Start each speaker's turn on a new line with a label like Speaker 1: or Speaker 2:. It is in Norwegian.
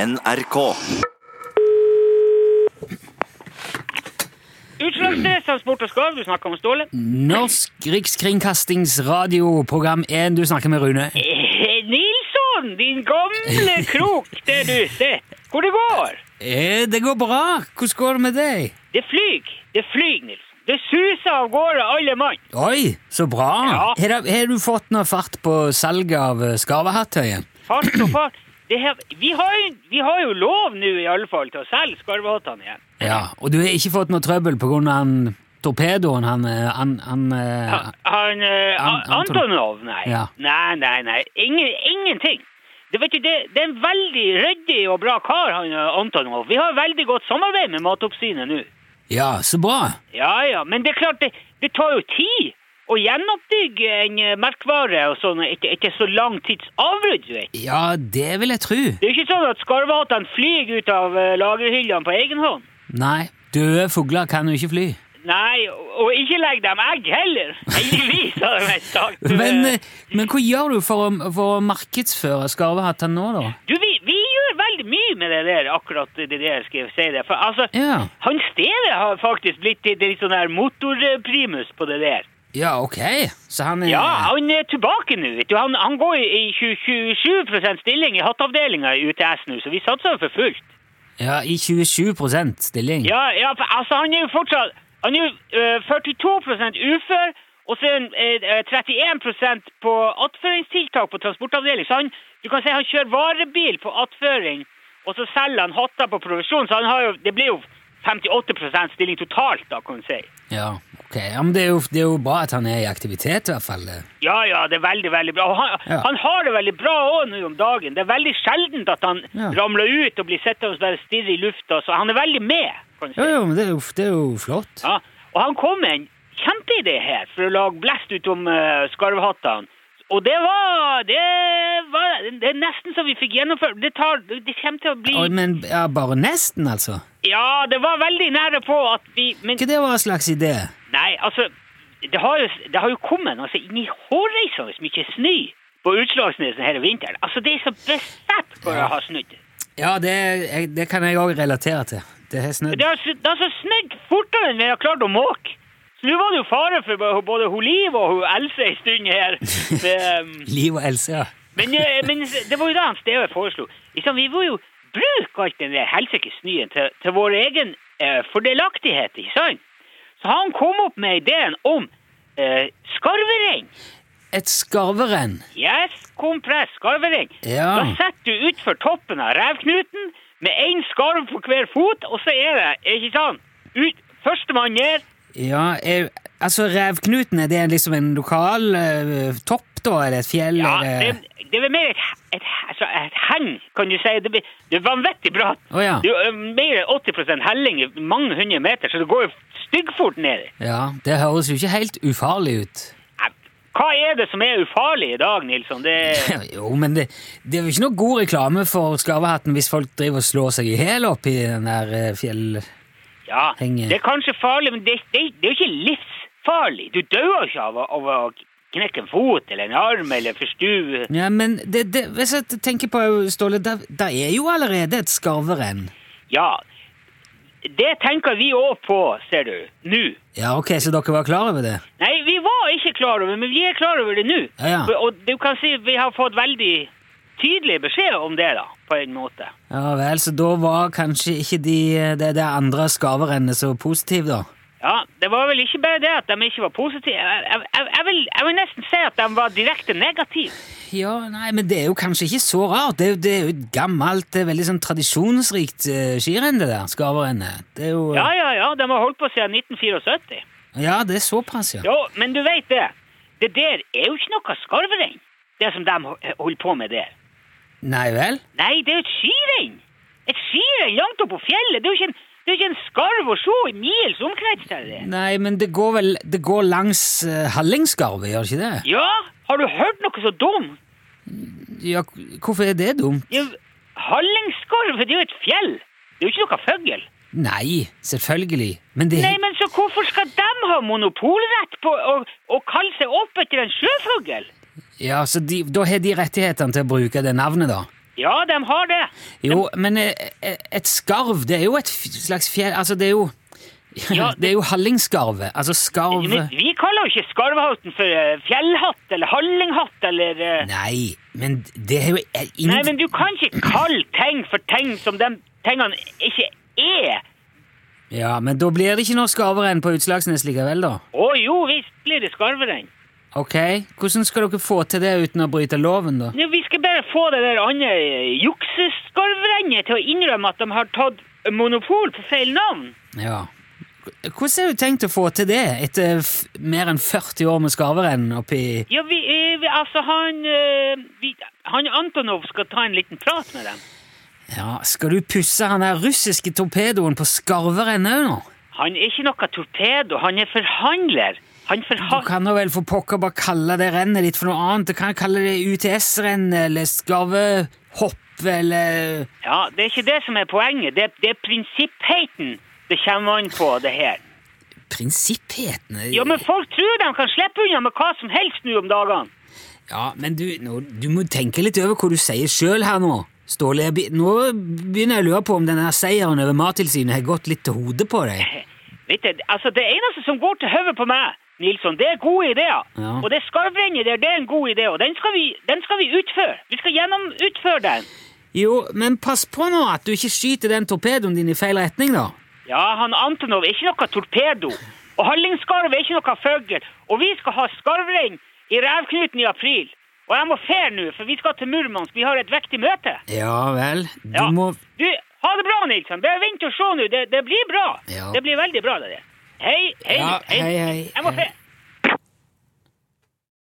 Speaker 1: NRK.
Speaker 2: Utslagsnettransport og skarv, du snakker om Ståle.
Speaker 3: Mm. Norsk Rikskringkastingsradio, program 1. Du snakker med Rune.
Speaker 2: Eh, Nilsson, din gamle krok der du sitter. Hvor det går?
Speaker 3: Eh, det går bra. Hvordan går det med deg?
Speaker 2: Det flyg, det flyg, Nilsson. Det suser av gårde alle mann.
Speaker 3: Oi, så bra.
Speaker 2: Ja.
Speaker 3: Har, da- har du fått noe fart på salget av eh, skarvehattøyen?
Speaker 2: Fart og fart. Det her, vi, har, jo- vi har jo lov nå i alle fall til å selge skarvehattene igjen.
Speaker 3: Ja, og du har ikke fått noe trøbbel på grunn av han torpedoen han, eh, han, han eh,
Speaker 2: Han, han, eh,
Speaker 3: An-
Speaker 2: An- Antonov, nei.
Speaker 3: Ja.
Speaker 2: Nei, nei, nei. Ingen, ingenting. Det, vet du, det, det er en veldig ryddig og bra kar, han eh, Antonov. Vi har veldig godt samarbeid med Matoppsynet nå.
Speaker 3: Ja, så bra.
Speaker 2: Ja, ja, men det er klart det, det tar jo tid å gjenoppbygge en eh, merkvare og sånn etter, etter så lang tids avbrudd, du vet.
Speaker 3: Ja, det vil jeg tro.
Speaker 2: Det er jo ikke sånn at skarvehattene flyr ut av eh, lagerhyllene på egen hånd.
Speaker 3: Nei, døde fugler kan jo ikke fly.
Speaker 2: Nei, og, og ikke legg dem egg heller. Heldigvis, har de vel sagt. Du,
Speaker 3: Men,
Speaker 2: eh,
Speaker 3: eh, men hva gjør du for å, for å markedsføre skarvehattene nå, da?
Speaker 2: du vi, vi gjør veldig mye med det der, akkurat det der, skal jeg si det. For altså,
Speaker 3: Ja,
Speaker 2: han stedet har faktisk blitt til til litt sånn her motorprimus på det der.
Speaker 3: ja ok. Så han er
Speaker 2: Ja, han er tilbake nå. vet du. Han, han går i 27 stilling i hattavdelinga i UTS nå, så vi satser for fullt.
Speaker 3: Ja, i 27 stilling.
Speaker 2: Ja, ja for, altså Han er jo fortsatt Han er jo eh, 42 ufør, og så er han eh, 31 på attføringstiltak på transportavdeling. Så han, du kan si han kjører varebil på attføring, og så selger han hatter på provisjon, så han har jo, det blir jo 58 stilling totalt, da, kan du si.
Speaker 3: Ja, ok. Ja, men det er, jo, det er jo bra at han er i aktivitet, i hvert fall.
Speaker 2: Ja, ja, det er veldig, veldig bra. Og han,
Speaker 3: Ja.
Speaker 2: han har det veldig bra òg nå om dagen. Det er veldig sjeldent at han
Speaker 3: Ja.
Speaker 2: ramler ut og blir sittende og bare stirre i lufta, så han er veldig med. kan du
Speaker 3: Jo,
Speaker 2: si.
Speaker 3: jo, men det er jo, det er jo flott.
Speaker 2: Ja. Og han kom med en kjempeidé her for å lage blest utom uh, skarvhattene. Og det var, det var Det er nesten så vi fikk gjennomført. Det, tar, det kommer til å bli
Speaker 3: Oi, men ja, bare nesten, altså?
Speaker 2: Ja, det var veldig nære på at vi Men
Speaker 3: Ikke det var en slags idé?
Speaker 2: Nei, altså, det har jo, det har jo kommet altså, inn i hårreisene så mye snø på Utslagsnesen hele vinteren. Altså, det er så besett for å ha snudd.
Speaker 3: Ja, det, jeg, det kan jeg òg relatere til. Det sånn har snødd.
Speaker 2: Det har, sn- det har så snudd fortere enn vi har klart å måke. Så nå var det jo fare for bo- både hun Liv og hun Else en stund her. Men,
Speaker 3: Liv og Else, ja.
Speaker 2: men, eh, men det var jo da han Steve foreslo. Liksom, vi må jo bruke alt den der helsikes snøen til, til vår egen eh, fordelaktighet, ikke sant? Så han kom opp med ideen om eh, skarverein.
Speaker 3: Et skarverenn.
Speaker 2: Yes, kompress, skarvering.
Speaker 3: Ja.
Speaker 2: Da setter du utfor toppen av revknuten med én skarv på hver fot, og så er det, er ikke sant, ut, førstemann ned.
Speaker 3: Ja, er, altså Revknuten, er det liksom en lokal eh, topp, da? Eller et fjell?
Speaker 2: Ja, det,
Speaker 3: eller?
Speaker 2: det er vel mer et, et, altså et heng, kan du si. Det, blir- det er vanvittig bra.
Speaker 3: Å, ja.
Speaker 2: Det er jo, eh, mer enn 80 helling i mange hundre meter, så det går jo styggfort ned.
Speaker 3: ja, det høres jo ikke helt ufarlig ut.
Speaker 2: Eh, Hva er det som er ufarlig i dag, Nilsson? Det,
Speaker 3: Jo, men det, det er jo ikke noe god reklame for skarvehatten hvis folk driver og slår seg i hjel oppi den der eh, fjell...
Speaker 2: ja,
Speaker 3: Henger.
Speaker 2: det er kanskje farlig, men det, det, det er jo ikke livsfarlig. Du dør jo ikke av, å- av å knekke en fot eller en arm eller forstue.
Speaker 3: Ja, men det, det, hvis jeg tenker på, Ståle, der, der er jo allerede et skarverenn.
Speaker 2: Ja, det tenker vi òg på, ser du, nå.
Speaker 3: Ja, ok, så dere var klar over det?
Speaker 2: Nei, vi var ikke klar over men vi er klar over det nå.
Speaker 3: Ja, ja.
Speaker 2: Og- Og du kan si vi har fått veldig tydelig beskjed om det, da, på en måte.
Speaker 3: Ja vel, så da var kanskje ikke de, eh, det, det andre skarverennet så positiv, da?
Speaker 2: Ja, Det var vel ikke bare det at de ikke var positive. Jeg, jeg, jeg, jeg, vil, jeg vil nesten si at de var direkte negative.
Speaker 3: Ja, nei, men det er jo kanskje ikke så rart. Det, er jo- det er jo et gammelt, det er veldig sånn tradisjonsrikt eh, skirenn, det der, skarverennet. Det er jo
Speaker 2: Ja, ja, ja, de har holdt på siden 1974.
Speaker 3: Ja, det er såpass, ja.
Speaker 2: Jo, men du vet det. Det der er jo ikke noe skarverein, det som de ho- holder på med der.
Speaker 3: Nei vel?
Speaker 2: Nei, det er jo et skirenn! Et skirenn langt oppe på fjellet! Det er jo ikke en, det er jo ikke en skarv å se i mils omkrets der. det.
Speaker 3: Nei, men det går vel det går langs uh, Hallingskarvet, gjør det ikke det?
Speaker 2: Ja, har du hørt noe så dumt?
Speaker 3: Ja, k- hvorfor er det dumt?
Speaker 2: Det er jo- Hallingskarv, det er jo et fjell! Det er jo ikke noe fugl.
Speaker 3: Nei, selvfølgelig. Men det
Speaker 2: Nei, men så hvorfor skal de ha monopolrett på å, å kalle seg opp etter en sjøfugl?
Speaker 3: Ja, så de, da har de rettighetene til å bruke det navnet, da?
Speaker 2: Ja, de har det.
Speaker 3: Jo, men eh, eh, et skarv, det er jo et f- slags fjell... Altså, det er jo
Speaker 2: Ja,
Speaker 3: Det er jo hallingskarvet. Altså skarv
Speaker 2: Men vi kaller jo ikke skarvehatten for eh, fjellhatt eller hallinghatt eller eh,
Speaker 3: Nei, men det er jo eh, ingen
Speaker 2: Nei, men du kan ikke kalle ting for ting som de tingene ikke er.
Speaker 3: Ja, men da blir det ikke noe skarverenn på Utslagsnes likevel, da.
Speaker 2: Å jo, visst blir det skarverenn.
Speaker 3: Ok, Hvordan skal dere få til det uten å bryte loven, da?
Speaker 2: Nå, vi skal bare få det der andre eh, jukseskarverennet til å innrømme at de har tatt monopol på feil navn.
Speaker 3: Ja. H- Hvordan har du tenkt å få til det etter f mer enn 40 år med skarverenn oppi
Speaker 2: Ja, vi, eh, vi altså han eh, vi, Han Antonov skal ta en liten prat med dem.
Speaker 3: Ja, Skal du pusse han der russiske torpedoen på skarverenn òg nå?
Speaker 2: Han er ikke noe torpedo, han er forhandler. Han
Speaker 3: Du
Speaker 2: forhandler
Speaker 3: kan da vel for pokker bare kalle det rennet ditt for noe annet? Du kan kalle det UTS-rennet eller skarvehopp eller
Speaker 2: Ja, det er ikke det som er poenget. Det, det er prinsippheiten det kommer an på, det her.
Speaker 3: Prinsipphetene
Speaker 2: Ja, men folk tror de kan slippe unna med hva som helst nå om dagene.
Speaker 3: Ja, men du, nå, du må tenke litt over hva du sier sjøl her nå. Ståle, jeg be- nå begynner jeg å lure på om denne seieren over Mattilsynet har gått litt til hodet på deg.
Speaker 2: Vet du, altså Det eneste som går til hodet på meg, Nilsson, det er gode ideer.
Speaker 3: Ja.
Speaker 2: Og det skarvrennet der, det er en god idé, og den skal vi, den skal vi utføre. Vi skal gjennom utføre den.
Speaker 3: Jo, men pass på nå at du ikke skyter den torpedoen din i feil retning, da.
Speaker 2: Ja, han Antonov er ikke noe torpedo. Og hallingskarv er ikke noe fugl. Og vi skal ha skarvrenn i revknuten i april. Og jeg må fer nå, for vi skal til Murmansk. Vi har et viktig møte.
Speaker 3: Ja vel, du
Speaker 2: Ja.
Speaker 3: må
Speaker 2: Du, ha det bra, Nilsson. Bare vent og se nå. Det, det blir bra.
Speaker 3: Ja.
Speaker 2: Det blir veldig bra, det der. Hei, hei,
Speaker 3: Ja, hei, Eh. hei,
Speaker 2: Jeg må
Speaker 3: hei.
Speaker 2: fer.